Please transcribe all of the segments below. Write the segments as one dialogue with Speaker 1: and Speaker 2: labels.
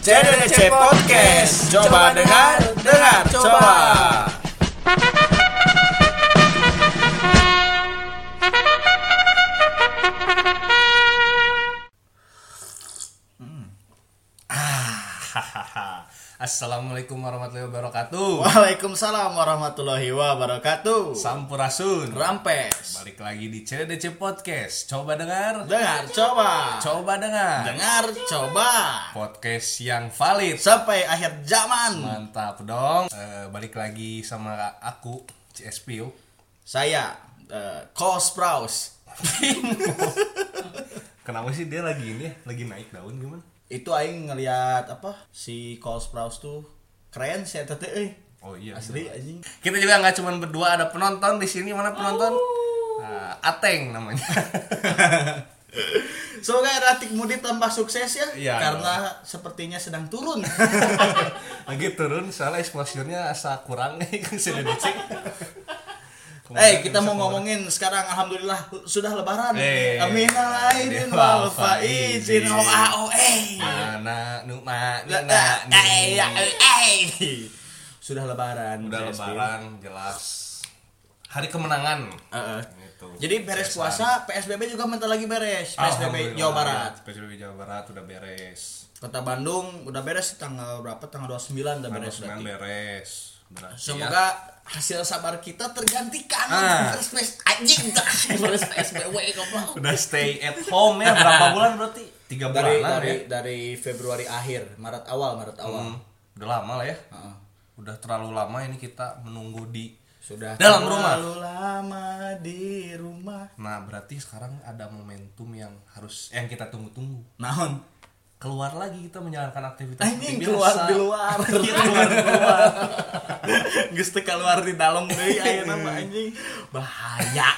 Speaker 1: CDDC Podcast. Coba dengar, dengar, coba.
Speaker 2: Hmm. Ah, Assalamualaikum warahmatullahi wabarakatuh.
Speaker 1: Waalaikumsalam warahmatullahi wabarakatuh.
Speaker 2: Sampurasun.
Speaker 1: Rampes.
Speaker 2: Balik lagi di CDC Podcast. Coba dengar.
Speaker 1: Dengar, coba.
Speaker 2: Coba dengar.
Speaker 1: Dengar, coba.
Speaker 2: Podcast yang valid.
Speaker 1: Sampai akhir zaman.
Speaker 2: Mantap dong. Eh, balik lagi sama aku CSPU.
Speaker 1: Saya eh, Kos Praus.
Speaker 2: Kenapa sih dia lagi ini ya? Lagi naik daun gimana?
Speaker 1: Itu aing ngeliat apa si Kos Praus tuh keren sih eta teh euy.
Speaker 2: Oh iya.
Speaker 1: Asli anjing.
Speaker 2: Kita juga nggak cuma berdua ada penonton di sini. Mana penonton? Ah, Ateng namanya.
Speaker 1: Semoga Ratik Mudi tambah sukses ya,
Speaker 2: Iya.
Speaker 1: karena sepertinya sedang turun.
Speaker 2: lagi turun soalnya exposure-nya asa kurang nih CDDC.
Speaker 1: Eh, kita mau ngomongin sekarang alhamdulillah sudah lebaran.
Speaker 2: Eh.
Speaker 1: Amin alaidin wal faizin
Speaker 2: Faizin.
Speaker 1: wa eh.
Speaker 2: Mana nu ma
Speaker 1: Eh,
Speaker 2: nina,
Speaker 1: eh,
Speaker 2: nina.
Speaker 1: eh, eh. Sudah lebaran.
Speaker 2: Udah
Speaker 1: CSB.
Speaker 2: lebaran jelas. Hari kemenangan.
Speaker 1: Heeh.
Speaker 2: Gitu.
Speaker 1: Jadi beres
Speaker 2: Cesan.
Speaker 1: puasa, PSBB juga bentar lagi beres.
Speaker 2: Alhamdulillah.
Speaker 1: PSBB Jawa Barat.
Speaker 2: PSBB Jawa Barat udah beres.
Speaker 1: Kota Bandung udah beres tanggal berapa? Tanggal 29
Speaker 2: Beres
Speaker 1: udah beres berarti.
Speaker 2: beres. Berarti ya.
Speaker 1: Semoga hasil sabar kita tergantikan.
Speaker 2: Ah.
Speaker 1: Beres beres anjing dah. Beres PSBB goblok.
Speaker 2: udah stay at home ya berapa bulan berarti? Tiga bulan
Speaker 1: Dari
Speaker 2: lah
Speaker 1: dari
Speaker 2: ya.
Speaker 1: dari Februari akhir, Maret awal, Maret awal.
Speaker 2: Hmm, Udah lama lah ya. Udah terlalu lama ini kita menunggu di
Speaker 1: Sudah
Speaker 2: Dalam rumah.
Speaker 1: terlalu lama di rumah.
Speaker 2: Nah, berarti sekarang ada momentum yang harus eh, yang kita tunggu-tunggu.
Speaker 1: Naon?
Speaker 2: Keluar lagi kita menjalankan aktivitas
Speaker 1: Anjing
Speaker 2: seperti
Speaker 1: keluar
Speaker 2: biasa.
Speaker 1: di luar.
Speaker 2: keluar di luar.
Speaker 1: Geus teu keluar di dalam deui ayeuna
Speaker 2: Iya.
Speaker 1: mah anjing. Bahaya.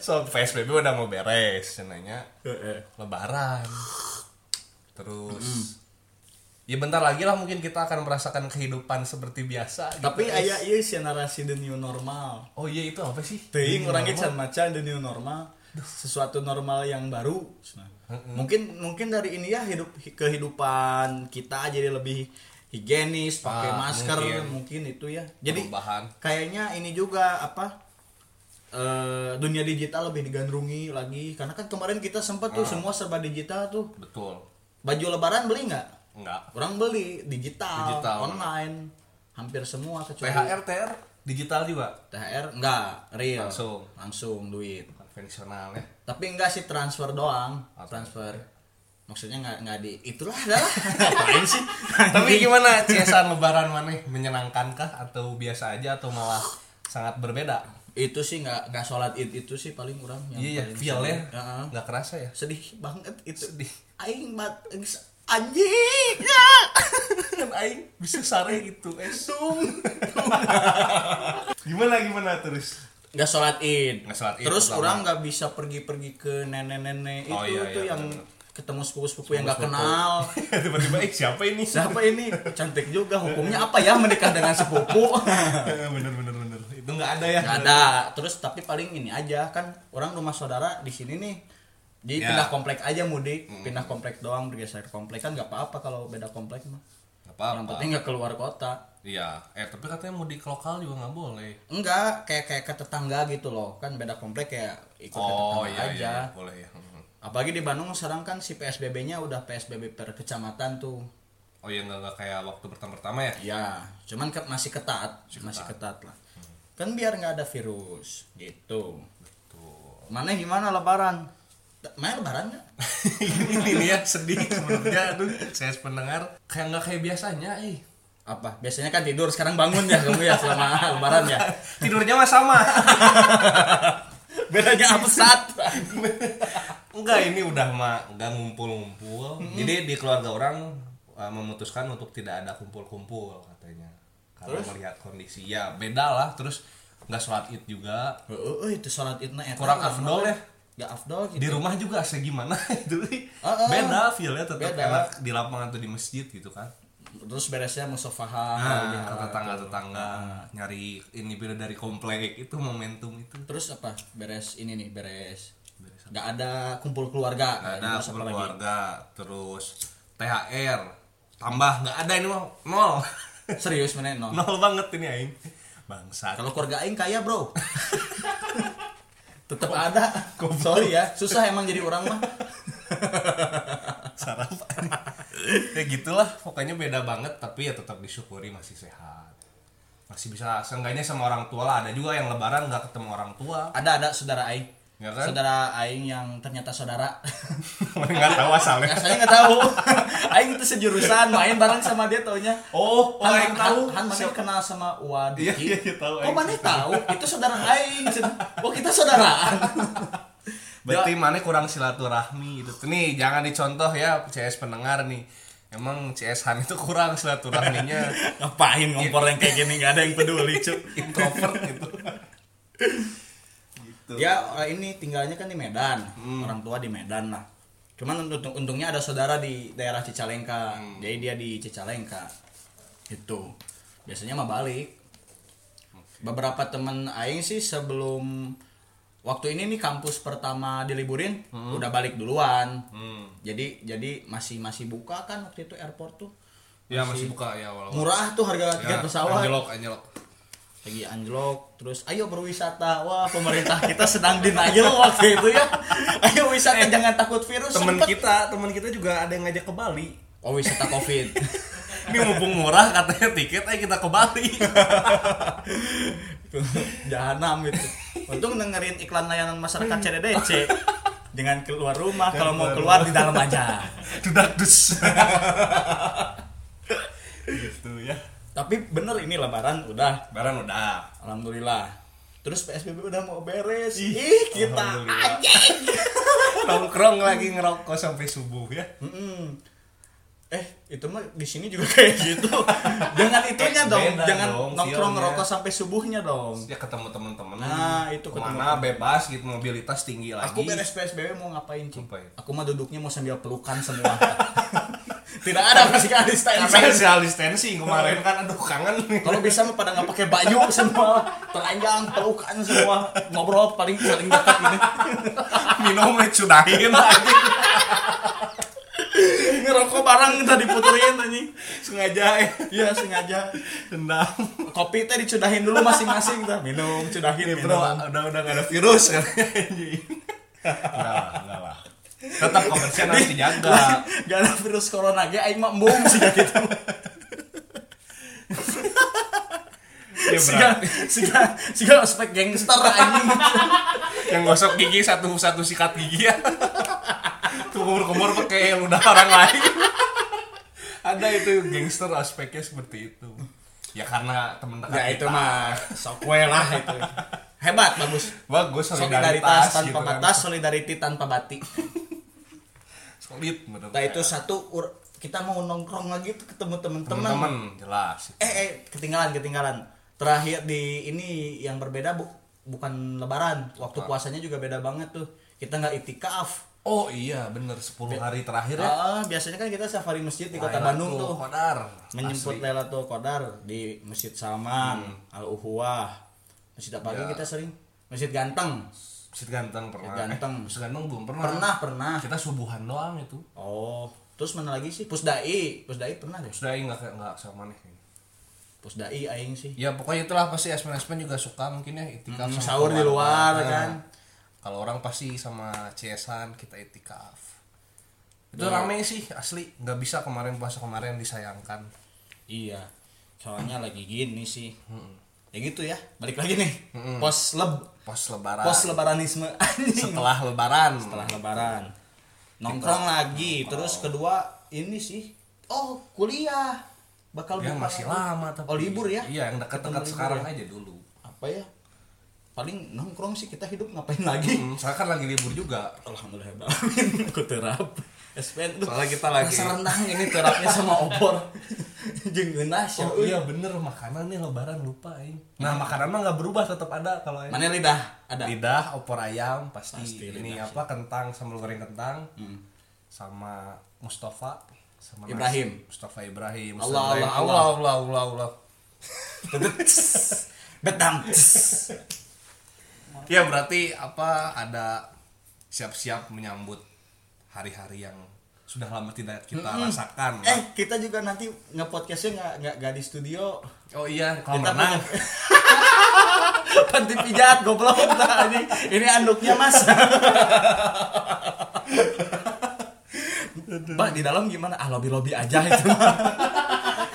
Speaker 2: So, PSBB udah mau beres, cenanya
Speaker 1: Heeh.
Speaker 2: lebaran. Terus Ya bentar lagi lah mungkin kita akan merasakan kehidupan seperti biasa. gitu.
Speaker 1: Tapi aya ieu sia narasi the new normal.
Speaker 2: Oh iya itu apa sih?
Speaker 1: Teuing urang ge can maca the new normal. Sesuatu normal yang baru. Nah, Mungkin mungkin dari ini ya hidup kehidupan kita jadi lebih higienis, pakai
Speaker 2: Ah,
Speaker 1: masker
Speaker 2: mungkin.
Speaker 1: mungkin. itu ya. Jadi
Speaker 2: Perubahan.
Speaker 1: kayaknya ini juga apa eh, dunia digital lebih digandrungi lagi karena kan kemarin kita sempat
Speaker 2: Ah.
Speaker 1: tuh semua serba digital tuh.
Speaker 2: Betul.
Speaker 1: Baju lebaran beli nggak?
Speaker 2: Enggak.
Speaker 1: Orang beli digital,
Speaker 2: Digital.
Speaker 1: online. Hampir semua kecuali
Speaker 2: THR TR digital juga
Speaker 1: THR enggak, real.
Speaker 2: Langsung.
Speaker 1: Langsung duit.
Speaker 2: konvensional ya.
Speaker 1: Tapi enggak sih transfer doang,
Speaker 2: Apa?
Speaker 1: transfer. Maksudnya enggak enggak di itulah adalah. Ngapain sih?
Speaker 2: Tapi gimana CSR lebaran maneh menyenangkankah atau biasa aja atau malah sangat berbeda?
Speaker 1: itu sih enggak enggak sholat Id itu sih paling kurang yang
Speaker 2: Iya ya,
Speaker 1: paling
Speaker 2: feel ya.
Speaker 1: sedih. Heeh.
Speaker 2: Enggak kerasa ya.
Speaker 1: Sedih banget itu.
Speaker 2: Sedih.
Speaker 1: Aing bat anjing.
Speaker 2: Kan aing bisa sare gitu, es.
Speaker 1: Sum.
Speaker 2: Gimana gimana terus?
Speaker 1: nggak sholat id.
Speaker 2: Nggak sholat Id,
Speaker 1: Terus
Speaker 2: pertama.
Speaker 1: orang nggak bisa pergi-pergi ke nenek-nenek
Speaker 2: Oh,
Speaker 1: itu
Speaker 2: iya,
Speaker 1: tuh
Speaker 2: iya,
Speaker 1: yang
Speaker 2: bener.
Speaker 1: ketemu sepupu-sepupu yang nggak
Speaker 2: Sepupu-sepupu.
Speaker 1: kenal.
Speaker 2: Tiba-tiba eh siapa ini?
Speaker 1: Siapa ini? Cantik juga. Hukumnya apa ya menikah dengan sepupu?
Speaker 2: bener bener bener. Itu enggak ada ya.
Speaker 1: Nggak ada. Terus tapi paling ini aja kan orang rumah saudara di sini nih. Jadi
Speaker 2: Ya.
Speaker 1: pindah komplek aja mudik, pindah komplek doang bergeser komplek kan nggak apa-apa kalau beda komplek mah.
Speaker 2: Nggak
Speaker 1: Yang
Speaker 2: apa-apa.
Speaker 1: penting nggak keluar kota.
Speaker 2: Iya, eh tapi katanya mau di lokal juga nggak boleh.
Speaker 1: Enggak, kayak kayak ke tetangga gitu loh. Kan beda komplek kayak ikut ke
Speaker 2: Oh
Speaker 1: tetangga
Speaker 2: iya
Speaker 1: aja.
Speaker 2: iya boleh ya. Hmm.
Speaker 1: Apalagi di Bandung sekarang kan si PSBB-nya udah PSBB per kecamatan tuh.
Speaker 2: Oh iya nggak nggak kayak waktu pertama-pertama ya?
Speaker 1: Ya, cuman ke- masih ketat, masih ketat lah. Kan biar nggak ada virus gitu.
Speaker 2: Betul.
Speaker 1: Mana gimana lebaran? Main lebaran nggak?
Speaker 2: ini nih ya sedih sebenarnya aduh saya pendengar kayak nggak kayak biasanya eh
Speaker 1: Apa? Biasanya kan tidur, sekarang bangun ya kamu ya selama lebaran ya.
Speaker 2: tidurnya mah sama
Speaker 1: Bedanya apa saat?
Speaker 2: enggak ini udah mah udah ngumpul-ngumpul jadi di keluarga orang eh, memutuskan untuk tidak ada kumpul-kumpul katanya kalau melihat kondisi ya beda lah terus nggak sholat id juga
Speaker 1: Oh, itu sholat idna eta.
Speaker 2: kurang afdol ya
Speaker 1: Nggak afdol gitu.
Speaker 2: di rumah juga segimana itu sih.
Speaker 1: Ah, ah.
Speaker 2: beda feelnya tetap
Speaker 1: Beda.
Speaker 2: enak di lapangan atau di masjid gitu kan
Speaker 1: Terus beresnya musofahan.
Speaker 2: nah,
Speaker 1: lebih
Speaker 2: ke
Speaker 1: halal.
Speaker 2: tetangga-tetangga
Speaker 1: Ah.
Speaker 2: nyari ini bila dari komplek itu momentum itu
Speaker 1: Terus apa? Beres ini nih, beres. Nggak ada kumpul keluarga.
Speaker 2: Nggak ada
Speaker 1: Nah, Terus apa
Speaker 2: kumpul
Speaker 1: lagi?
Speaker 2: keluarga terus THR tambah nggak ada ini mah nol
Speaker 1: Serius mana no.
Speaker 2: nol banget ini aing bangsa
Speaker 1: Kalau keluarga aing kaya, Bro. Tetap ada. Sorry ya, susah emang jadi orang mah.
Speaker 2: sarapan ya gitulah pokoknya beda banget tapi ya tetap disyukuri masih sehat masih bisa seenggaknya sama orang tua lah ada juga yang lebaran nggak ketemu orang tua
Speaker 1: Ada ada saudara aing.
Speaker 2: Ya kan?
Speaker 1: Saudara aing yang ternyata saudara. Eh,
Speaker 2: nggak tahu asalnya
Speaker 1: Saya nggak tahu. aing itu sejurusan, main bareng sama dia taunya.
Speaker 2: oh oh yang tahu
Speaker 1: Han, mana
Speaker 2: Siap-
Speaker 1: kenal sama Wadi.
Speaker 2: Iya, iya, iya, tahu,
Speaker 1: Kok
Speaker 2: Aing.
Speaker 1: mana tahu? Itu saudara aing. Oh, kita saudaraan.
Speaker 2: berarti
Speaker 1: Ya.
Speaker 2: mana kurang silaturahmi itu nih jangan dicontoh ya CS pendengar nih emang CS Han itu kurang silaturahminya
Speaker 1: Ngapain ngompor yang kayak gini nggak ada yang peduli, Cuk.
Speaker 2: introvert gitu
Speaker 1: Ya orang ini tinggalnya kan di Medan, orang tua di Medan lah. Cuman untung- untungnya ada saudara di daerah Cicalengka, jadi dia di Cicalengka. Itu biasanya mah balik. Beberapa temen Aing sih sebelum waktu ini nih kampus pertama diliburin udah balik duluan.
Speaker 2: Hmm.
Speaker 1: Jadi jadi masih masih buka kan waktu itu airport tuh
Speaker 2: ya masih buka ya walaupun
Speaker 1: murah tuh harga
Speaker 2: ya,
Speaker 1: tiket pesawat
Speaker 2: anjlok anjlok
Speaker 1: lagi anjlok terus ayo berwisata wah pemerintah kita sedang denial waktu itu ya ayo wisata jangan takut virus
Speaker 2: temen
Speaker 1: sempet.
Speaker 2: kita temen kita juga ada yang ngajak ke Bali
Speaker 1: oh wisata covid
Speaker 2: ini mumpung murah katanya tiket ayo kita ke Bali
Speaker 1: jahanam itu untung dengerin iklan layanan masyarakat CDDC dengan keluar rumah kalau mau keluar di dalam aja
Speaker 2: dudak dus gitu ya
Speaker 1: tapi bener ini lebaran udah
Speaker 2: barang udah
Speaker 1: alhamdulillah terus PSBB udah mau beres ih kita
Speaker 2: Alhamdulillah. nongkrong lagi ngerokok sampai subuh ya
Speaker 1: Mm-mm. Hmm. Eh, itu mah di sini juga kayak gitu. jangan
Speaker 2: Eh,
Speaker 1: itunya dong,
Speaker 2: beda
Speaker 1: jangan
Speaker 2: dong,
Speaker 1: nongkrong
Speaker 2: feel-nya.
Speaker 1: ngerokok sampai subuhnya dong.
Speaker 2: ya ketemu teman-teman
Speaker 1: Nah, itu ketemu
Speaker 2: kemana bebas gitu mobilitas tinggi lagi
Speaker 1: Aku beres PSBB mau ngapain, Cing?
Speaker 2: Ngapain?
Speaker 1: Aku mah duduknya mau sambil pelukan semua. Tidak ada physical
Speaker 2: karena
Speaker 1: distancing.
Speaker 2: social distancing kemarin kan aduh kangen nih
Speaker 1: Kalau bisa mah pada nggak pakai baju semua, telanjang, pelukan semua, ngobrol paling paling dekat ini.
Speaker 2: minum lecudahin lagi
Speaker 1: Ngerokok bareng kita diputerin anjing.
Speaker 2: sengaja ya
Speaker 1: Iya, sengaja.
Speaker 2: dendam
Speaker 1: Kopi teh dicudahin dulu masing-masing tah. Minum,
Speaker 2: Eh,
Speaker 1: cudahin,
Speaker 2: Iya, Bro,
Speaker 1: minum.
Speaker 2: udah udah gak ada virus kan? katanya anjing enggak lah enggak lah tetap komersial harus dijaga
Speaker 1: Gak ada virus corona ge aing mah embung sih gitu.
Speaker 2: ya,
Speaker 1: Siga
Speaker 2: berarti
Speaker 1: siga siga ospek gangster anjing.
Speaker 2: yang gosok gigi satu satu sikat gigi ya kumur kumur pakai ludah orang lain ada itu gangster aspeknya seperti itu ya karena temen dekat gitu.
Speaker 1: Ya itu mah sok we lah itu. Hebat bagus.
Speaker 2: bagus solidaritas,
Speaker 1: Solidaritas tanpa
Speaker 2: gitu kan.
Speaker 1: batas, solidarity tanpa batik.
Speaker 2: solid menurut
Speaker 1: Nah
Speaker 2: saya.
Speaker 1: itu satu ur- kita mau nongkrong lagi tuh ketemu temen-temen.
Speaker 2: temen-temen jelas
Speaker 1: Eh, eh ketinggalan ketinggalan. Terakhir di ini yang berbeda bu- bukan lebaran. Waktu puasanya juga beda banget tuh. Kita nggak itikaf.
Speaker 2: oh iya bener 10 hari terakhir ya
Speaker 1: Ah, biasanya kan kita safari masjid di kota
Speaker 2: Lailatul
Speaker 1: Bandung tuh.
Speaker 2: Qadar.
Speaker 1: menyebut
Speaker 2: Asli. Hmm.
Speaker 1: Lailatul Qadar di Masjid Salman, Al Uhuwah. Masjid apa lagi
Speaker 2: Ya.
Speaker 1: kita sering? Masjid Ganteng.
Speaker 2: Masjid Ganteng pernah.
Speaker 1: Masjid Ganteng.
Speaker 2: Eh, Masjid Ganteng belum pernah.
Speaker 1: Pernah, pernah.
Speaker 2: Kita subuhan doang itu.
Speaker 1: Oh, terus mana lagi sih? Pusdai. Pusdai pernah deh.
Speaker 2: Sudah enggak eh, kayak enggak sama nih.
Speaker 1: Pusdai aing sih.
Speaker 2: Ya pokoknya itulah pasti esmen-esmen juga suka mungkin ya itikaf
Speaker 1: Mm,
Speaker 2: sama
Speaker 1: sahur
Speaker 2: keluarga.
Speaker 1: di luar,
Speaker 2: Nah,
Speaker 1: kan.
Speaker 2: Kalau orang pasti sama cesan kita itikaf. Itu
Speaker 1: Hmm.
Speaker 2: rame sih asli, nggak bisa kemarin puasa kemarin disayangkan.
Speaker 1: Iya. Soalnya lagi gini sih.
Speaker 2: Hmm.
Speaker 1: Ya gitu ya. Balik lagi nih. Pos leb
Speaker 2: Pos lebaran.
Speaker 1: pos lebaranisme anjing.
Speaker 2: setelah lebaran.
Speaker 1: Setelah lebaran. Nongkrong lagi. Terus kedua ini sih. Oh, kuliah. Bakal
Speaker 2: Ya
Speaker 1: buka
Speaker 2: masih
Speaker 1: lagi.
Speaker 2: lama tapi.
Speaker 1: Oh, libur ya?
Speaker 2: Iya, yang dekat-dekat
Speaker 1: Ketemu libur
Speaker 2: sekarang
Speaker 1: ya?
Speaker 2: aja dulu.
Speaker 1: apa ya paling nongkrong sih kita hidup ngapain lagi
Speaker 2: Hmm, saya kan lagi libur juga.
Speaker 1: alhamdulillah amin aku terap SPN tuh
Speaker 2: Soalnya kita lagi-
Speaker 1: rasa rendang ini terapnya sama opor jeung geunah sia
Speaker 2: Oh
Speaker 1: euy.
Speaker 2: iya bener makanan nih lebaran lupa aing. Nah makanan mah nggak berubah tetap ada kalau aing.
Speaker 1: mana lidah ada
Speaker 2: Lidah, opor ayam pasti,
Speaker 1: Nah. Pasti Hmm.
Speaker 2: ini apa kentang sambal goreng kentang sama Mustafa sama nasi.
Speaker 1: Ibrahim.
Speaker 2: Mustafa Ibrahim.
Speaker 1: Allah,
Speaker 2: Mustafa Ibrahim.
Speaker 1: Allah, Allah.
Speaker 2: Allah Allah Allah.
Speaker 1: bedam
Speaker 2: Ya berarti apa ada siap-siap menyambut hari-hari yang sudah lama tidak kita rasakan
Speaker 1: eh kita juga nanti ngepodcastnya nggak nggak nggak di studio
Speaker 2: oh iya kalau
Speaker 1: Kita
Speaker 2: renang
Speaker 1: panti pijat goblok Nah, ini ini anduknya mas Mbak di dalam gimana? Ah lobby lobby aja itu.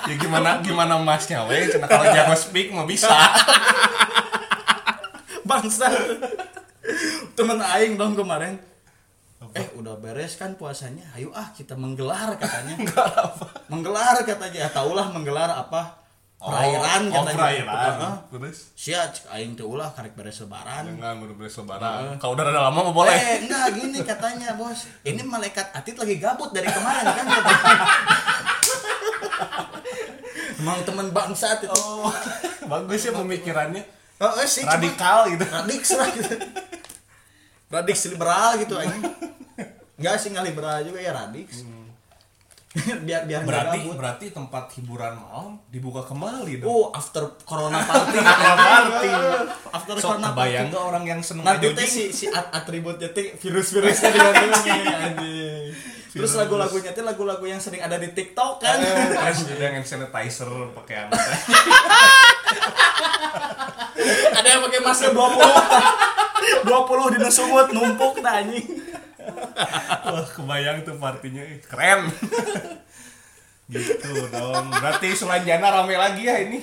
Speaker 2: ya gimana gimana masnya weh Cina kalau jago speak mah bisa
Speaker 1: Bangsa. Temen aing dong kemarin. Eh udah beres kan puasanya. Ayo ah kita menggelar katanya. Menggelar katanya. Ya, Taulah menggelar apa? Perairan
Speaker 2: oh, oh,
Speaker 1: katanya.
Speaker 2: perairan
Speaker 1: Heeh.
Speaker 2: terus
Speaker 1: Sia cek aing teh ulah karek beres lebaran.
Speaker 2: jangan berbeli lebaran kalau udah rada lama mah boleh
Speaker 1: Eh, enggak gini katanya, Bos. Ini malaikat Atit lagi gabut dari kemarin kan. Emang teman bangsa itu. Oh,
Speaker 2: bagus ya pemikirannya
Speaker 1: eh, sih cuma-
Speaker 2: radikal gitu
Speaker 1: Radix lah gitu. Radix liberal gitu aja. Enggak sih nggak liberal juga ya Radix. biar biar nggak
Speaker 2: Hmm. berarti
Speaker 1: gabut.
Speaker 2: berarti tempat hiburan malam dibuka kembali dong
Speaker 1: Oh, after corona party.
Speaker 2: Party.
Speaker 1: after
Speaker 2: so
Speaker 1: corona party.
Speaker 2: kebayang nggak orang yang seneng
Speaker 1: Nanti
Speaker 2: jogging?
Speaker 1: teh si si at- atributnya teh virus-virusnya digantung ya, Terus lagu-lagunya teh lagu-lagu yang sering ada di TikTok kan.
Speaker 2: Terus ada yang hand sanitizer pakai anak
Speaker 1: ada yang pakai masker 20. 20 di sumut numpuk tah anjing.
Speaker 2: Wah, kebayang tuh partinya Ih, keren. gitu dong. Berarti Sulanjana rame lagi ya ini.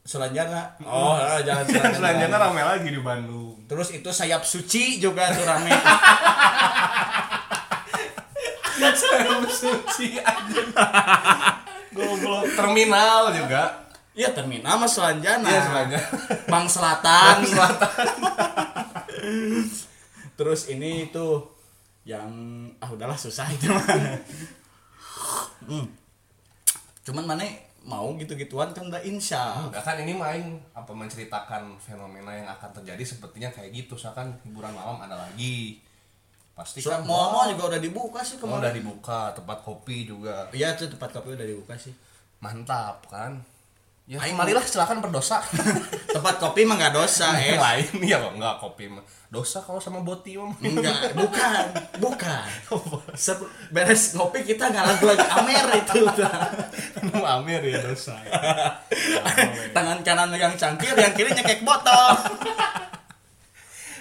Speaker 1: Sulanjana. Oh, eh, jangan
Speaker 2: Sulanjana rame lagi di Bandung.
Speaker 1: Terus itu sayap suci juga tuh rame.
Speaker 2: Suci aja. Goblok. Terminal juga.
Speaker 1: Iya terminal mas Sulanjana.
Speaker 2: Iya, Sulanjana.
Speaker 1: Bang Selatan. Terus ini tuh yang ah udahlah susah itu mah. Hmm. Cuman mana mau gitu-gituan kan udah insya.
Speaker 2: Enggak kan ini main apa menceritakan fenomena yang akan terjadi sepertinya kayak gitu. Seakan hiburan malam ada lagi. Pasti
Speaker 1: Surat
Speaker 2: kan
Speaker 1: Momo juga udah dibuka sih
Speaker 2: mau udah
Speaker 1: kemarin.
Speaker 2: dibuka, tempat kopi juga.
Speaker 1: Oh, Iya tuh tempat kopi udah dibuka sih.
Speaker 2: Mantap kan? Ya,
Speaker 1: Aing-
Speaker 2: marilah silakan berdosa.
Speaker 1: Tempat kopi mah nggak dosa eh.
Speaker 2: yang lain ya kok enggak kopi mah dosa kalau sama boti mah
Speaker 1: Enggak, bukan, bukan. Sep- beres ngopi kita nggak lagu lagi Amer itu.
Speaker 2: minum amir ya dosa
Speaker 1: Tangan kanan megang cangkir, yang kiri nyekek botol.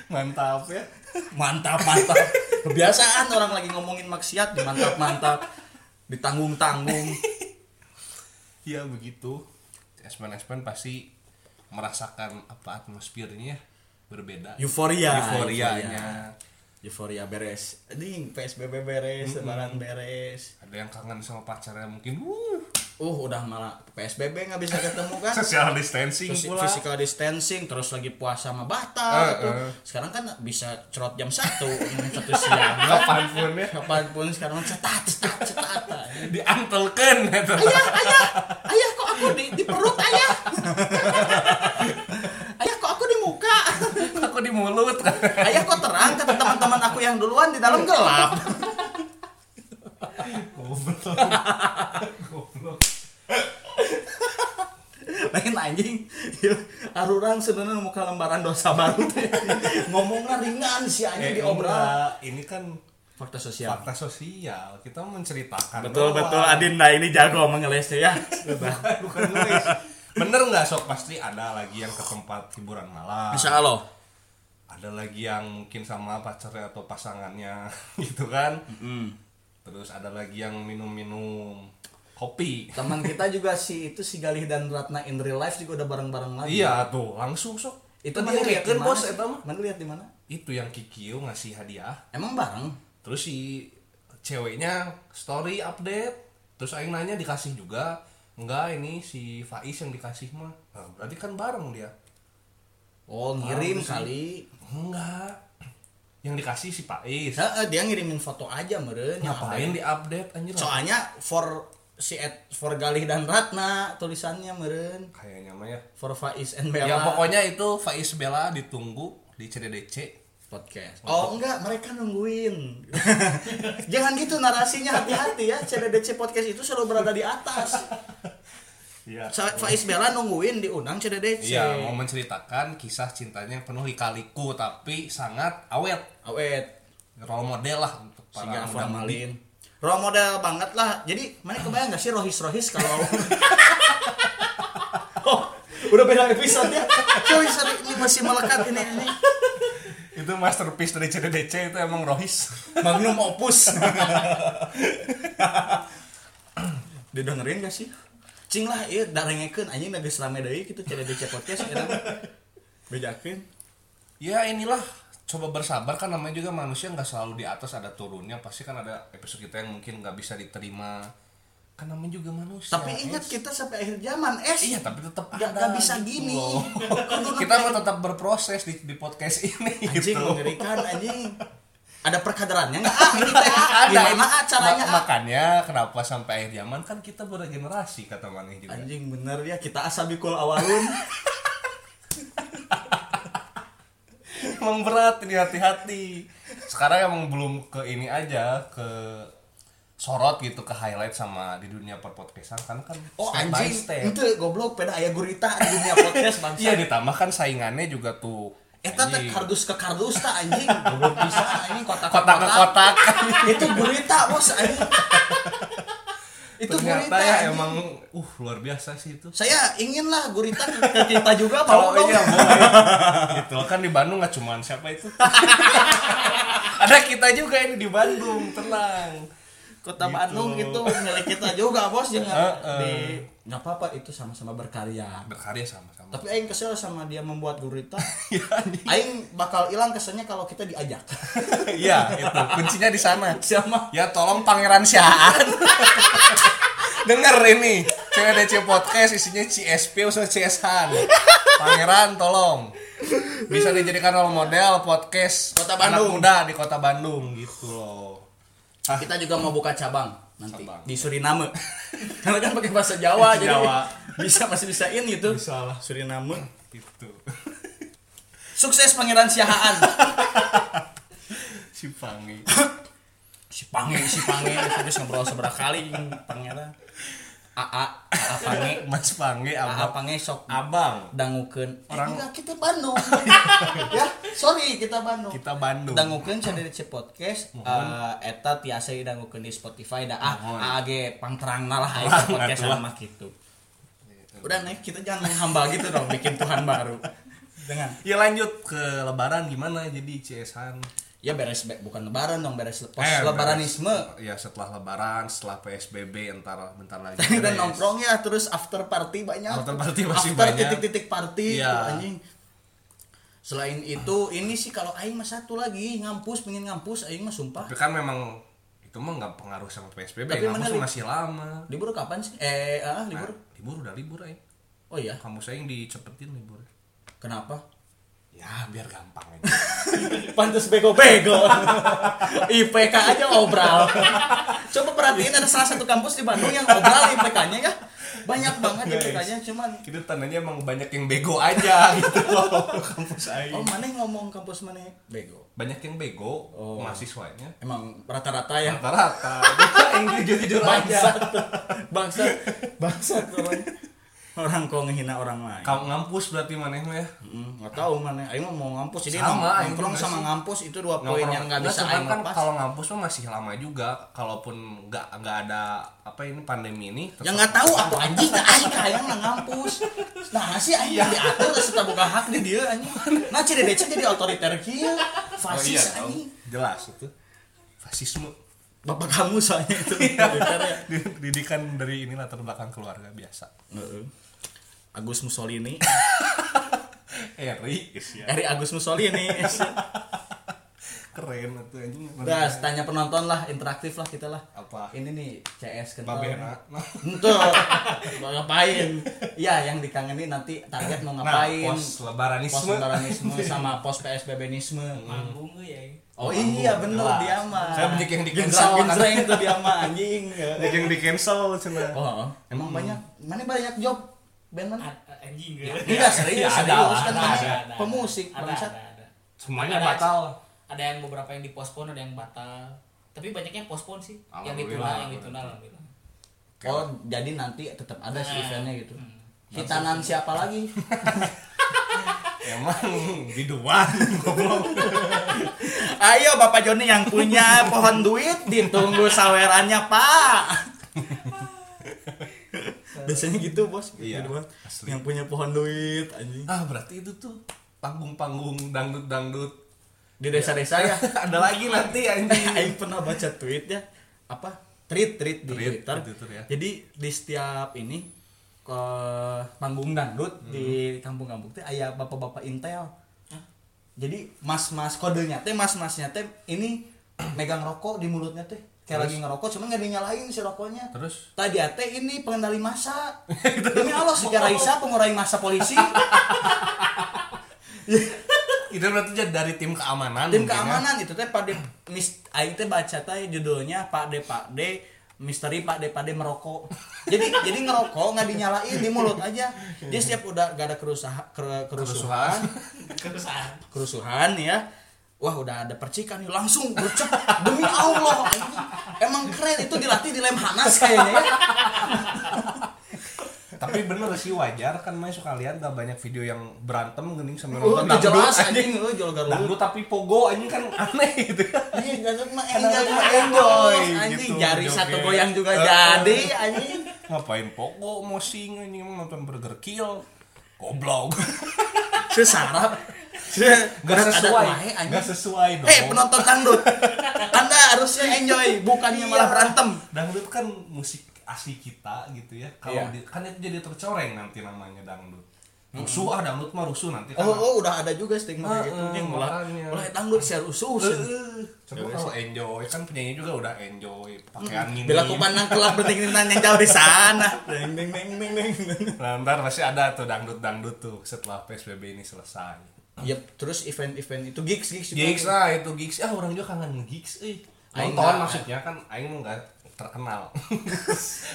Speaker 2: mantap ya
Speaker 1: Mantap, mantap. Kebiasaan orang lagi ngomongin maksiat, mantap, mantap. Ditanggung-tanggung.
Speaker 2: ya begitu espen espen pasti merasakan apa atmosfernya berbeda
Speaker 1: Euforia.
Speaker 2: euforianya
Speaker 1: Euforia beres. Ding, PSBB beres, lebaran beres.
Speaker 2: ada yang kangen sama pacarnya mungkin wuh
Speaker 1: Uh, udah malah PSBB nggak bisa ketemu kan.
Speaker 2: social distancing
Speaker 1: Terus
Speaker 2: pula
Speaker 1: physical distancing terus lagi puasa sama batal
Speaker 2: Eh,
Speaker 1: gitu.
Speaker 2: eh.
Speaker 1: Sekarang kan bisa cerot jam 1 satu siang.
Speaker 2: kapanpun ya
Speaker 1: Kapanpun sekarang cetat cetat cetat.
Speaker 2: diantelkan gitu.
Speaker 1: Ayah, ayah, ayah kok aku di, di perut ayah. ayah kok aku di muka.
Speaker 2: aku di mulut kan
Speaker 1: Ayah kok terang kata teman-teman aku yang duluan di dalam gelap.
Speaker 2: goblok goblok
Speaker 1: Lain anjing. Arurang sebenarnya muka lembaran dosa baru. teh. Ngomongnya ringan sih
Speaker 2: eh,
Speaker 1: anjing diobral.
Speaker 2: enggak. ini kan
Speaker 1: Fakta sosial.
Speaker 2: fakta sosial kita menceritakan
Speaker 1: Ya. Betul
Speaker 2: doang.
Speaker 1: betul Adinda ini jago mengelesnya ya.
Speaker 2: bukan nulis bener nggak sok pasti ada lagi yang ke tempat hiburan malam
Speaker 1: Insya Allah.
Speaker 2: ada lagi yang mungkin sama pacarnya atau pasangannya gitu kan terus ada lagi yang minum-minum kopi
Speaker 1: Teman kita juga si itu si Galih dan Ratna in real life juga udah bareng-bareng lagi.
Speaker 2: iya tuh langsung sok
Speaker 1: Itu
Speaker 2: Temen
Speaker 1: mana lihat di
Speaker 2: ngikeun,
Speaker 1: mana?
Speaker 2: bos
Speaker 1: sih?
Speaker 2: eta mah.
Speaker 1: Mana lihat di mana?
Speaker 2: itu yang Kikio ngasih hadiah
Speaker 1: Emang bareng?
Speaker 2: terus si ceweknya story update terus Aing nanya dikasih juga enggak ini si Faiz yang dikasih mah nah, berarti kan bareng dia
Speaker 1: Oh, ngirim kali.
Speaker 2: enggak yang dikasih si Faiz
Speaker 1: Heeh, dia ngirimin foto aja meren. yang
Speaker 2: ngapain di update anjir
Speaker 1: update. Soalnya for si Ed, for Galih dan Ratna tulisannya meren.
Speaker 2: kayaknya mah ya
Speaker 1: For Faiz and
Speaker 2: yang
Speaker 1: Bella
Speaker 2: Ya, pokoknya itu Faiz Bella ditunggu di CDDC
Speaker 1: podcast. Oh enggak, mereka nungguin. Jangan gitu narasinya hati-hati ya. CDDC podcast itu selalu berada di atas.
Speaker 2: iya
Speaker 1: Sa- Faiz Bella nungguin diundang CDDC.
Speaker 2: Iya, mau menceritakan kisah cintanya yang penuh lika-liku tapi sangat awet.
Speaker 1: Awet,
Speaker 2: Role model lah untuk para
Speaker 1: sehingga
Speaker 2: muda-mudi.
Speaker 1: formalin. role model banget lah jadi mana kebayang gak sih rohis rohis kalau oh, udah beda episode ya cuy sorry, ini masih melekat ini ini
Speaker 2: itu masterpiece dari CDDC itu emang Rohis
Speaker 1: magnum opus didengerin gak sih cing lah iya darengekeun anjing nggak rame deui gitu CDDC podcast eta mah. bejakeun
Speaker 2: ya inilah coba bersabar kan namanya juga manusia nggak selalu di atas ada turunnya pasti kan ada episode kita yang mungkin nggak bisa diterima kan namanya juga manusia
Speaker 1: tapi ingat
Speaker 2: Es.
Speaker 1: kita sampai akhir zaman es
Speaker 2: iya tapi tetap
Speaker 1: Nggak-
Speaker 2: ada gitu
Speaker 1: nggak bisa gini.
Speaker 2: loh.
Speaker 1: Kudu
Speaker 2: kita mau tetap berproses di, di podcast ini
Speaker 1: anjing
Speaker 2: gitu
Speaker 1: mengerikan anjing ada perkaderannya nggak ah kita
Speaker 2: ada
Speaker 1: gimana
Speaker 2: ini.
Speaker 1: ah caranya
Speaker 2: Ma-
Speaker 1: ah?
Speaker 2: makanya kenapa sampai akhir zaman kan kita bergenerasi kata maneh juga
Speaker 1: anjing bener ya kita asabikul awalun
Speaker 2: emang berat ini hati-hati sekarang emang belum ke ini aja ke sorot gitu ke highlight sama di dunia perpodcastan karena kan
Speaker 1: oh
Speaker 2: step by
Speaker 1: anjing
Speaker 2: step.
Speaker 1: itu goblok peda aya gurita di dunia podcast bangsa
Speaker 2: iya ditambahkan saingannya juga tuh
Speaker 1: Eta teh
Speaker 2: Anjing.
Speaker 1: kardus ke kardus tak anjing Goblok bisa anjing kotak ke
Speaker 2: kotak ke kotak
Speaker 1: Itu gurita bos anjing Itu
Speaker 2: ternyata
Speaker 1: gurita
Speaker 2: ya
Speaker 1: anjing.
Speaker 2: emang uh luar biasa sih itu
Speaker 1: Saya inginlah gurita ke ke kita juga
Speaker 2: kalau
Speaker 1: mau dong
Speaker 2: iya boleh gitu kan di Bandung nggak cuman siapa itu ada kita juga ini di Bandung tenang
Speaker 1: Kota
Speaker 2: Gitu.
Speaker 1: Bandung itu milik kita juga bos Jangan
Speaker 2: Heeh.
Speaker 1: di Gak apa-apa itu sama-sama berkarya
Speaker 2: berkarya ya sama-sama
Speaker 1: Tapi Aing kesel sama dia membuat gurita
Speaker 2: Iya, anjing.
Speaker 1: Aing bakal hilang kesannya kalau kita diajak
Speaker 2: iya itu kuncinya di sana
Speaker 1: Sama
Speaker 2: Ya tolong Pangeran Siaan. Denger ini. CWDC podcast isinya CSP usah CShan. Pangeran tolong. Bisa dijadikan role model podcast
Speaker 1: Kota
Speaker 2: anak
Speaker 1: Bandung.
Speaker 2: muda di Kota Bandung gitu loh. Hah,
Speaker 1: Kita juga mau buka cabang nanti
Speaker 2: Ah. Cabang.
Speaker 1: di Suriname. Karena kan pakai bahasa Jawa jadi
Speaker 2: Jawa.
Speaker 1: bisa masih bisain gitu.
Speaker 2: Bisa lah.
Speaker 1: Suriname.
Speaker 2: gitu.
Speaker 1: Sukses Pangeran Siahaan.
Speaker 2: Si Pangi.
Speaker 1: si Pange, si Pange terus ngobrol seberapa kali hmm, jeung Pangeran. Aa, Aa Pange,
Speaker 2: Mas Pangi
Speaker 1: Aa
Speaker 2: abang.
Speaker 1: Pange sok
Speaker 2: Abang.
Speaker 1: dangukeun.
Speaker 2: Orang-
Speaker 1: Orang Eh, kita Bandung. ya, sorry kita Bandung.
Speaker 2: Kita Bandung.
Speaker 1: dangukeun CDC podcast eh, eta tiasa dangukeun di Spotify da ah
Speaker 2: Mohon.
Speaker 1: aa ge pangterangna lah eta
Speaker 2: Pangterang,
Speaker 1: podcast
Speaker 2: atuh.
Speaker 1: sama kitu. Udah nih kita jangan menghamba gitu dong bikin Tuhan baru. Dengan
Speaker 2: Ya lanjut ke lebaran gimana jadi CShan.
Speaker 1: ya beres be- bukan lebaran dong beres le- pos
Speaker 2: Eh,
Speaker 1: lebaranisme.
Speaker 2: beres. Ya setelah lebaran, setelah PSBB entar bentar lagi.
Speaker 1: Udah
Speaker 2: beres.
Speaker 1: nongkrong ya terus after party banyak.
Speaker 2: After party masih
Speaker 1: After
Speaker 2: banyak.
Speaker 1: titik-titik party
Speaker 2: Iya.
Speaker 1: tuh, anjing. Selain itu ini sih kalau aing mah satu lagi ngampus pengen ngampus aing mah sumpah.
Speaker 2: Tapi kan memang itu mah nggak pengaruh sama PSBB.
Speaker 1: Tapi
Speaker 2: Kampus
Speaker 1: mana li-
Speaker 2: masih lama.
Speaker 1: Libur kapan sih? Eh, ah, libur.
Speaker 2: Nah, libur udah libur aja.
Speaker 1: Oh iya,
Speaker 2: Kampus saya yang dicepetin libur.
Speaker 1: kenapa?
Speaker 2: Ya biar gampang aja.
Speaker 1: Pantes bego-bego. IPK aja obral. Coba perhatiin ada salah satu kampus di Bandung yang obral IPK-nya ya. Banyak banget
Speaker 2: Guys.
Speaker 1: IPK-nya cuman
Speaker 2: itu tandanya emang banyak yang bego aja gitu loh kampus saya.
Speaker 1: oh mana yang ngomong kampus mana ya? bego.
Speaker 2: Banyak yang bego mahasiswanya.
Speaker 1: Emang rata-rata ya
Speaker 2: Rata-rata. yang jujur-jujur
Speaker 1: bangsat
Speaker 2: aja.
Speaker 1: bangsat bangsat orang orang kok ngehina orang lain
Speaker 2: Kamu ngampus berarti mana mah ya?
Speaker 1: Mm, nggak tahu mana aing mah mau ngampus jadi
Speaker 2: Sama,
Speaker 1: nong-
Speaker 2: aing
Speaker 1: nongkrong
Speaker 2: juga
Speaker 1: sama
Speaker 2: sih.
Speaker 1: ngampus itu dua poin yang nggak bisa
Speaker 2: cuman
Speaker 1: aing
Speaker 2: kan
Speaker 1: lepas
Speaker 2: kalau ngampus mah masih lama juga kalaupun nggak nggak ada apa ini pandemi ini tetap-
Speaker 1: yang Ya nggak tahu aku anjing nah, aing kayak mah ngampus nah sih aing
Speaker 2: Iya.
Speaker 1: diatur terus kita buka hak di dia anjing nah CDDC jadi otoriter kieu
Speaker 2: Oh iya
Speaker 1: fasis
Speaker 2: dong.
Speaker 1: anjing
Speaker 2: jelas itu fasisme
Speaker 1: bapak kamu soalnya itu
Speaker 2: Iya.
Speaker 1: otoriter ya
Speaker 2: didikan dari ini latar belakang keluarga biasa
Speaker 1: Heeh. Agus Mussolini
Speaker 2: Eri ya.
Speaker 1: dari Agus Mussolini
Speaker 2: Iya. keren itu anjing
Speaker 1: Udah, tanya penonton lah, interaktif lah kita lah.
Speaker 2: Apa?
Speaker 1: Ini nih CS kental.
Speaker 2: babena Nah,
Speaker 1: Entuh, mau ngapain? Iya, yang dikangenin nanti target mau
Speaker 2: Nah,
Speaker 1: ngapain?
Speaker 2: pos lebaranisme.
Speaker 1: Pos lebaranisme sama pos PSBBnisme.
Speaker 2: Hmm.
Speaker 3: manggung ge ya
Speaker 1: Oh iya bener
Speaker 2: Jelas.
Speaker 1: dia mah.
Speaker 2: Saya banyak yang di
Speaker 1: Genjreng-
Speaker 2: cancel, kan?
Speaker 1: genjreng itu dia mah anjing.
Speaker 2: ada yang di cancel cina
Speaker 1: Oh, emang banyak. Mana banyak job band mana?
Speaker 3: A- anjing ge
Speaker 1: Enggak serius,
Speaker 2: ada
Speaker 1: serius
Speaker 2: lah,
Speaker 1: kan
Speaker 2: ada,
Speaker 1: mana
Speaker 3: ada, ada.
Speaker 1: iya. pemusik
Speaker 3: ada
Speaker 1: bangsat.
Speaker 3: ada ada
Speaker 2: semuanya
Speaker 3: Ada-
Speaker 2: batal
Speaker 3: ada yang beberapa yang dipospon ada yang batal tapi banyaknya yang pospon sih yang
Speaker 2: Alhamdulillah.
Speaker 3: ditunda yang ditunda alhamdulillah
Speaker 1: Oh, jadi nanti tetap ada sih
Speaker 3: Nah.
Speaker 1: eventnya gitu.
Speaker 3: Hmm.
Speaker 1: Hitanan siapa lagi?
Speaker 2: Emang biduan goblok.
Speaker 1: Ayo Bapak Joni yang punya pohon duit ditunggu sawerannya Pak. Biasanya gitu bos,
Speaker 2: Iya,
Speaker 1: gitu bos.
Speaker 2: asli.
Speaker 1: Yang punya pohon duit anjing.
Speaker 2: Ah, berarti itu tuh panggung-panggung dangdut-dangdut.
Speaker 1: Di desa-desa ya.
Speaker 2: Ada lagi nanti
Speaker 1: Eh,
Speaker 2: anjing.
Speaker 1: Aing pernah baca tweetnya apa? Tweet tweet di
Speaker 2: Tweet,
Speaker 1: Twitter.
Speaker 2: di Twitter ya.
Speaker 1: Jadi di setiap ini ke panggung dangdut
Speaker 2: Hmm.
Speaker 1: di kampung-kampung teh aya bapak-bapak intel. Jadi mas-mas kodenya teh mas-masnya teh ini megang rokok di mulutnya teh kayak lagi ngerokok cuman nggak dinyalain si rokoknya
Speaker 2: Terus?
Speaker 1: tadi teh ini pengendali masa demi Allah secara Raisa pengurai masa polisi
Speaker 2: Itu berarti jadi dari tim keamanan.
Speaker 1: tim
Speaker 2: mungkin ya.
Speaker 1: keamanan itu teh Pak De mis aing teh baca teh judulnya Pak De Pak De misteri Pak De Pak De merokok jadi jadi ngerokok nggak dinyalain di mulut aja dia setiap udah gak ada kerusaha, ker- kerusuhan
Speaker 3: kerusahan
Speaker 1: kerusuhan ya wah udah ada percikan nih langsung gercep demi Allah anjing. emang keren itu dilatih di Lemhanas kayaknya ya.
Speaker 2: Tapi bener sih wajar kan main suka lihat gak banyak video yang berantem gening sambil
Speaker 1: Oh,
Speaker 2: nonton
Speaker 1: itu jelas
Speaker 2: dangdut,
Speaker 1: anjing lu jual garut
Speaker 2: Dangdut tapi pogo anjing kan aneh gitu.
Speaker 1: Iya, gak cuma
Speaker 2: Kadang-kadang
Speaker 1: enjoy,
Speaker 2: enjoy,
Speaker 1: enjoy. Anjing
Speaker 2: gitu,
Speaker 1: jari
Speaker 2: joget.
Speaker 1: satu goyang juga
Speaker 2: Eh.
Speaker 1: jadi anjing.
Speaker 2: Ngapain pogo mosing anjing emang nonton Burger Kill. Goblok.
Speaker 1: sesarap Iya.
Speaker 2: Gak sesuai. Gak
Speaker 1: eh
Speaker 2: sesuai dong.
Speaker 1: penonton dangdut anda harusnya enjoy bukannya
Speaker 2: Iya.
Speaker 1: malah berantem
Speaker 2: Dangdut kan musik asli kita gitu ya. Kalau
Speaker 1: Iya.
Speaker 2: di- kan itu jadi tercoreng nanti namanya dangdut. Rusuh ah dangdut mah rusuh nanti kan.
Speaker 1: oh, oh udah ada juga stigma kayak gitu
Speaker 2: Heeh,
Speaker 1: yang malah
Speaker 2: makanya.
Speaker 1: malah dangdut share usus
Speaker 2: Eh, Coba kalau enjoy kan penyanyi juga udah enjoy pakaian ini.
Speaker 1: bila aku pandang kelak bertingin yang jauh di sana deng deng deng deng deng
Speaker 2: Nah, ntar pasti ada tuh dangdut-dangdut tuh setelah PSBB ini selesai.
Speaker 1: Yep, terus event-event itu gigs gigs juga.
Speaker 2: Gigs lah itu gigs. Ah orang juga kangen gigs euy.
Speaker 1: Aing
Speaker 2: Nonton
Speaker 1: nggak-
Speaker 2: maksudnya kan aing mau enggak terkenal.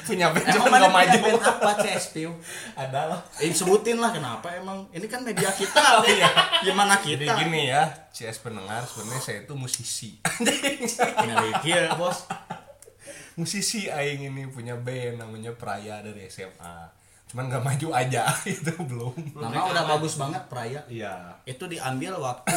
Speaker 2: Punya band
Speaker 1: Emang
Speaker 2: cuma
Speaker 1: mana
Speaker 2: enggak maju.
Speaker 1: punya band apa CSPU?
Speaker 2: Ada lah.
Speaker 1: Eh, sebutin lah kenapa emang ini kan media kita. Gimana
Speaker 2: Jadi
Speaker 1: kita?
Speaker 2: gini ya, CS pendengar sebenarnya saya itu musisi.
Speaker 1: Ini kieu, Bos.
Speaker 2: musisi aing ini punya band namanya Praya dari SMA. Cuman nggak maju aja itu belum.
Speaker 1: Nama udah bagus banget Praya.
Speaker 2: Iya.
Speaker 1: itu diambil waktu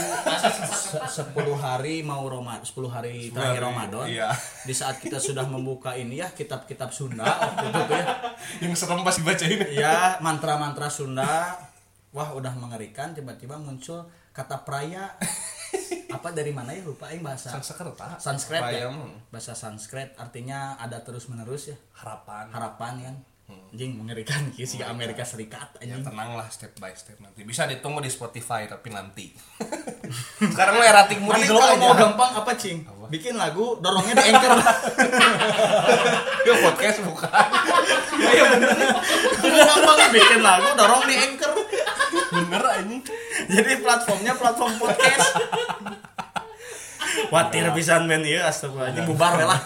Speaker 1: se- 10 hari mau Roma 10 hari terakhir
Speaker 2: hari,
Speaker 1: Ramadan.
Speaker 2: iya.
Speaker 1: Di saat kita sudah membuka ini ya kitab-kitab Sunda waktu itu tuh ya.
Speaker 2: Yang serem pas dibaca ini.
Speaker 1: Ya, mantra-mantra Sunda wah udah mengerikan tiba-tiba muncul kata praya apa dari mana ya lupa aing bahasa
Speaker 2: Sanskerta.
Speaker 1: Sanskrit
Speaker 2: Praya
Speaker 1: ya.
Speaker 2: mah
Speaker 1: Bahasa Sanskrit artinya ada terus-menerus ya.
Speaker 2: Hmm. harapan.
Speaker 1: Harapan kan.
Speaker 2: Hmm.
Speaker 1: Anjing mengerikan ki si Amerika Serikat
Speaker 2: Ya
Speaker 1: anjing.
Speaker 2: tenang lah step by step nanti. Bisa ditunggu di Spotify tapi nanti. Sekarang lo eratik mudi
Speaker 1: Mending
Speaker 2: dulu
Speaker 1: kalau mau
Speaker 2: aja.
Speaker 1: gampang apa cing? Bikin lagu dorongnya di anchor.
Speaker 2: Yuk podcast bukan.
Speaker 1: Iya, Udah gampang bikin lagu dorong di anchor
Speaker 2: Bener anjing.
Speaker 1: jadi platformnya platform podcast Watir pisan men ieu astagfirullahaladzim bubar we lah.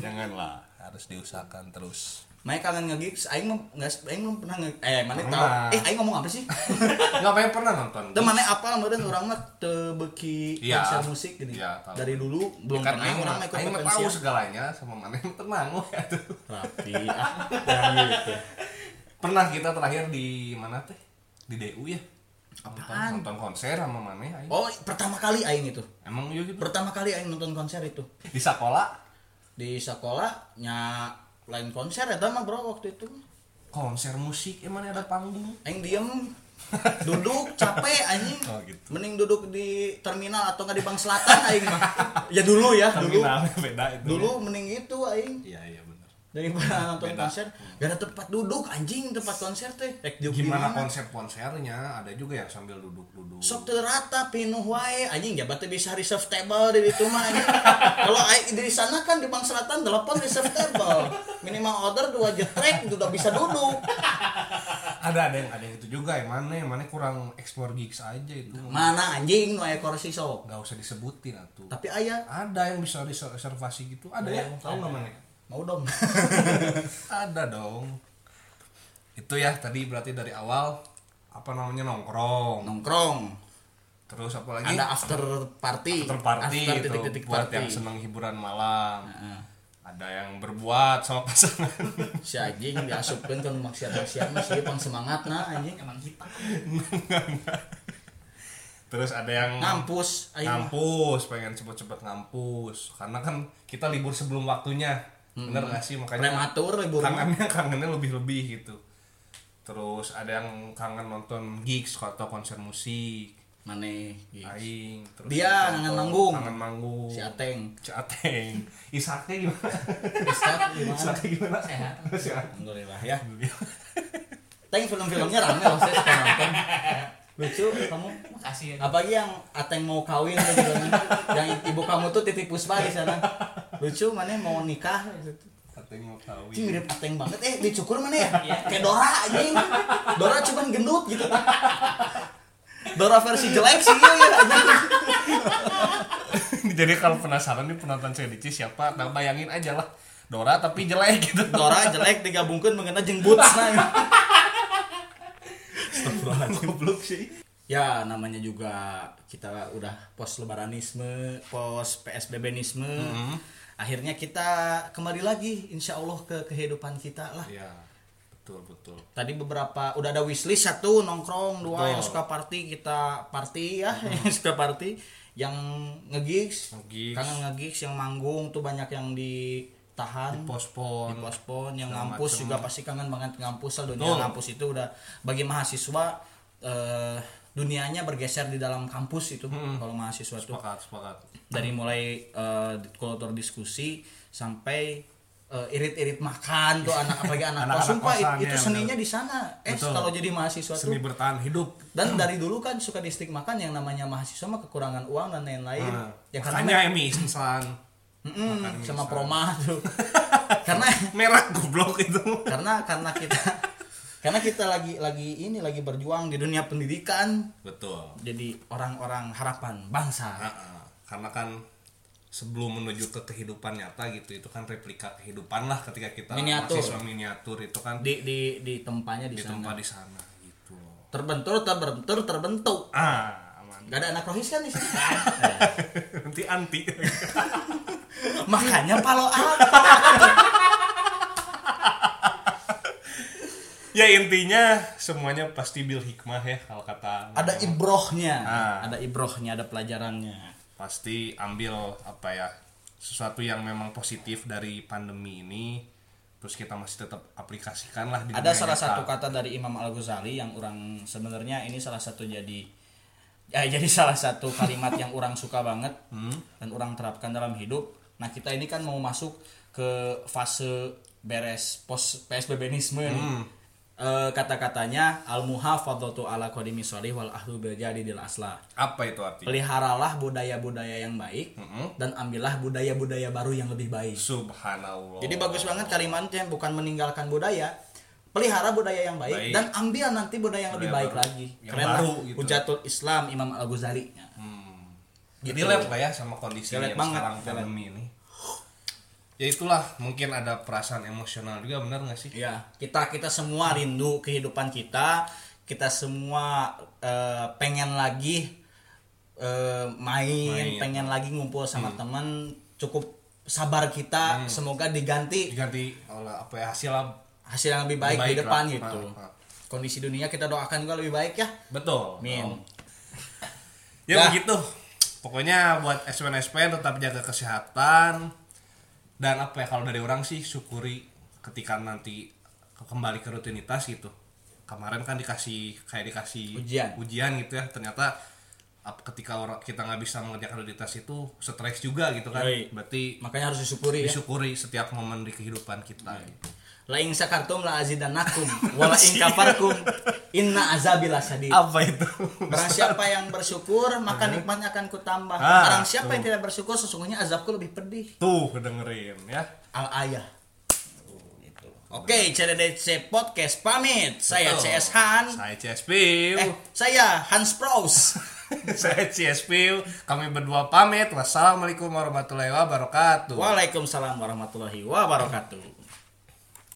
Speaker 2: Janganlah, harus diusahakan terus.
Speaker 1: Mae kangen nge-gigs aing mah nggak aing mah pernah nge eh mana tahu.
Speaker 2: Pernah.
Speaker 1: Eh aing ngomong apa sih?
Speaker 2: Enggak pengen pernah nonton.
Speaker 1: Teu mana apal meureun urang mah teu beki
Speaker 2: Iya.
Speaker 1: konser musik gini.
Speaker 2: Iya, tahu.
Speaker 1: Dari dulu
Speaker 2: Bukan
Speaker 1: belum pernah
Speaker 2: aing
Speaker 1: orang
Speaker 2: mah,
Speaker 1: mah ikut
Speaker 2: aing mah tahu
Speaker 1: pensiun.
Speaker 2: segalanya sama mana yang tenang weh, atuh.
Speaker 1: Rapi ah. jangan gitu.
Speaker 2: Pernah kita terakhir di mana teh? Di DU ya.
Speaker 1: Apaan?
Speaker 2: Nonton, nonton konser sama mana aing.
Speaker 1: Oh, pertama kali aing itu.
Speaker 2: Emang yuk gitu.
Speaker 1: Pertama kali aing nonton konser itu.
Speaker 2: Di sekolah
Speaker 1: Di sekolah nya lain konser ya mah bro waktu itu.
Speaker 2: konser musik emang ada panggung.
Speaker 1: Aing diem duduk capek anjing
Speaker 2: Oh, gitu.
Speaker 1: mending duduk di terminal atau nggak di bank selatan aing mah ya dulu ya dulu
Speaker 2: Terminalnya Kan beda itu. ya.
Speaker 1: dulu mending itu aing
Speaker 2: Iya iya benar.
Speaker 1: daripada nonton
Speaker 2: Beda. Eh,
Speaker 1: konser gak ada tempat duduk anjing tempat konser teh Rek di
Speaker 2: Gimana
Speaker 1: mana?
Speaker 2: konsep-konsernya? Ada juga yang sambil duduk-duduk.
Speaker 1: sok teu rata pinuh wae anjing ya teh bisa reserve table di itu mah anjing kalau aing di sana kan di bank selatan delapan reserve table minimal order dua jetrek udah bisa duduk
Speaker 2: Ada ada yang ada yang itu juga yang mana yang mana kurang explore gigs aja itu.
Speaker 1: mana anjing wae kursi sok
Speaker 2: Gak usah disebutin atuh.
Speaker 1: tapi ayah
Speaker 2: Ada yang bisa reser- reservasi gitu. Ada ya? Tahu nggak mana?
Speaker 1: mau dong
Speaker 2: Ada dong. Itu ya tadi berarti dari awal apa namanya nongkrong.
Speaker 1: nongkrong
Speaker 2: Terus apa lagi?
Speaker 1: ada after party
Speaker 2: after party
Speaker 1: After
Speaker 2: gitu
Speaker 1: titik-titik
Speaker 2: buat
Speaker 1: party.
Speaker 2: yang seneng hiburan malam. ada yang berbuat sama pasangan
Speaker 1: si anjing diasupkan kan maksiat maksiat masih pang semangat nah anjing
Speaker 3: emang kita
Speaker 2: terus ada yang
Speaker 1: ngampus aing mah.
Speaker 2: ngampus pengen cepet-cepet ngampus karena kan kita libur sebelum waktunya
Speaker 1: Hmm.
Speaker 2: bener gak sih makanya
Speaker 1: prematur libur mah.
Speaker 2: kangennya kangennya lebih-lebih gitu terus ada yang kangen nonton gigs atau konser musik
Speaker 1: maneh gitu.
Speaker 2: aing terus nonton-
Speaker 1: Dia kangen manggung.
Speaker 2: kangen manggung
Speaker 1: si ateng
Speaker 2: Si Ateng. Isaknya gimana
Speaker 1: Ustaz gimana
Speaker 2: Isaknya gimana
Speaker 3: Sehat.
Speaker 2: Si Ateng.
Speaker 1: Alhamdulillah ya Teng film-filmnya rame loh saya suka nonton lucu kamu
Speaker 3: makasih ya
Speaker 1: apalagi yang Ateng mau kawin tuh juga nanti. yang ibu kamu tuh titip puspa di sana lucu mana mau nikah
Speaker 2: Ateng mau
Speaker 1: Cing
Speaker 2: kawin
Speaker 1: mirip Ateng banget eh dicukur mana ya
Speaker 3: Iya.
Speaker 1: kayak Dora anjing Dora cuman gendut gitu Dora versi jelek sih ya, ya, anjing.
Speaker 2: jadi kalau penasaran nih penonton CDC siapa nah bayangin aja lah Dora tapi jelek gitu
Speaker 1: Dora jelek digabungkan mengenai jengbut nah.
Speaker 2: goblok sih
Speaker 1: ya namanya juga kita udah pos lebaranisme pos psbbnisme akhirnya kita kembali lagi insya Allah ke kehidupan kita lah
Speaker 2: Iya, betul betul.
Speaker 1: tadi beberapa udah ada wishlist satu nongkrong dua
Speaker 2: Betul.
Speaker 1: yang suka party kita party ya yang suka party yang ngegigs
Speaker 2: Nge-gigs.
Speaker 1: kangen ngegigs yang manggung tuh banyak yang ditahan
Speaker 2: Pospon.
Speaker 1: dipospon yang
Speaker 2: segala
Speaker 1: ngampus
Speaker 2: macem.
Speaker 1: juga pasti kangen banget ngampus lah dunia
Speaker 2: Betul.
Speaker 1: ngampus itu udah bagi mahasiswa eh, dunianya bergeser di dalam kampus itu kalau mahasiswa tuh
Speaker 2: Sepakat sepakat.
Speaker 1: dari mulai eh, kultur diskusi sampai eh, irit-irit makan tuh anak apalagi anak,
Speaker 2: Anak-anak
Speaker 1: kos sumpah it-
Speaker 2: kosan,
Speaker 1: itu
Speaker 2: ya,
Speaker 1: seninya di sana eh
Speaker 2: Betul.
Speaker 1: kalau jadi mahasiswa
Speaker 2: Seni
Speaker 1: tuh
Speaker 2: bertahan hidup.
Speaker 1: dan dari dulu kan suka distigmakan yang namanya mahasiswa mah kekurangan uang dan lain-lain
Speaker 2: Nah,
Speaker 1: ya karena
Speaker 2: makanya Emi insan
Speaker 1: Mm-mm,
Speaker 2: makan mie
Speaker 1: sama
Speaker 2: instan.
Speaker 1: proma tuh karena
Speaker 2: merah goblok itu.
Speaker 1: karena karena kita karena kita lagi lagi ini lagi berjuang di dunia pendidikan
Speaker 2: Betul.
Speaker 1: jadi orang-orang harapan bangsa
Speaker 2: karena kan sebelum menuju ke kehidupan nyata gitu itu kan replika kehidupan lah ketika kita
Speaker 1: Miniatur.
Speaker 2: mahasiswa miniatur itu kan di,
Speaker 1: di di di tempatnya di, sana
Speaker 2: tempat di sana gitu loh.
Speaker 1: terbentur terbentur terbentuk
Speaker 2: Ah, aman.
Speaker 1: Gak ada anak rohis kan di sini.
Speaker 2: Nanti anti.
Speaker 1: Makanya palo apa?
Speaker 2: ya intinya semuanya pasti bil hikmah ya kalau kata
Speaker 1: Ada ibrohnya,
Speaker 2: Ah.
Speaker 1: ada ibrohnya, ada pelajarannya.
Speaker 2: pasti ambil apa ya sesuatu yang memang positif dari pandemi ini terus kita masih tetap aplikasikan lah di
Speaker 1: Ada
Speaker 2: dunia
Speaker 1: salah
Speaker 2: nyata.
Speaker 1: satu kata dari Imam Al Ghazali yang orang sebenarnya ini salah satu jadi ya, jadi salah satu kalimat yang orang suka banget dan orang terapkan dalam hidup. Nah kita ini kan mau masuk ke fase beres pos PSBBnisme E nih. Eh, kata-katanya al muhafadzatu ala qadimi sholih wal ahlu bil jadidil aslah.
Speaker 2: apa itu artinya
Speaker 1: peliharalah budaya-budaya yang baik dan ambillah budaya-budaya baru yang lebih baik.
Speaker 2: subhanallah
Speaker 1: Jadi bagus banget kalimatnya bukan meninggalkan budaya, pelihara budaya yang
Speaker 2: Baik.
Speaker 1: baik, dan ambil nanti budaya yang lebih
Speaker 2: Budaya
Speaker 1: baik
Speaker 2: baru.
Speaker 1: lagi.
Speaker 2: Yang
Speaker 1: Keren
Speaker 2: baru
Speaker 1: lah.
Speaker 2: gitu.
Speaker 1: Hujatul Islam Imam Al Ghazali.
Speaker 2: Hmm. jadi relate lah ya sama kondisi yang
Speaker 1: Relate banget,
Speaker 2: sekarang
Speaker 1: relate.
Speaker 2: pandemi ini ya itulah mungkin ada perasaan emosional juga benar nggak sih
Speaker 1: Ya, kita kita semua rindu kehidupan kita, kita semua eh, pengen lagi eh, main,
Speaker 2: Main. Hmm.
Speaker 1: pengen lagi ngumpul sama teman, cukup sabar kita, semoga diganti
Speaker 2: diganti oleh apa ya hasil lah.
Speaker 1: hasil yang lebih baik, di
Speaker 2: Baik
Speaker 1: depan
Speaker 2: lah.
Speaker 1: gitu.
Speaker 2: Ha, ha.
Speaker 1: Kondisi dunia kita doakan juga lebih baik ya.
Speaker 2: betul
Speaker 1: Amin.
Speaker 2: ya
Speaker 1: Dah.
Speaker 2: begitu pokoknya buat SPN SPN tetap jaga kesehatan dan apa ya kalau dari orang sih syukuri ketika nanti ke- kembali ke rutinitas gitu kemarin kan dikasih kayak dikasih
Speaker 1: Ujian.
Speaker 2: ujian gitu ya ternyata ap- ketika orang kita nggak bisa mengerjakan rutinitas itu stres juga gitu kan
Speaker 1: Yoi. Iya.
Speaker 2: berarti
Speaker 1: Makanya harus disyukuri ya.
Speaker 2: disyukuri setiap momen di kehidupan kita gitu.
Speaker 1: La in sakartum la azidanakum wa la in kafarkum inna azabi lasyadid.
Speaker 2: apa itu
Speaker 1: Barang siapa yang bersyukur maka nikmatnya akan kutambah.
Speaker 2: Ah,
Speaker 1: Barang siapa
Speaker 2: tuh.
Speaker 1: yang tidak bersyukur sesungguhnya azabku lebih pedih.
Speaker 2: tuh dengerin ya
Speaker 1: Al ayah. Oke, CDDC Podcast pamit. Saya
Speaker 2: Betul.
Speaker 1: CS Han.
Speaker 2: saya CSP
Speaker 1: Eh, saya Hans Prous.
Speaker 2: saya CSP kami berdua pamit wassalamualaikum warahmatullahi wabarakatuh
Speaker 1: Waalaikumsalam warahmatullahi wabarakatuh.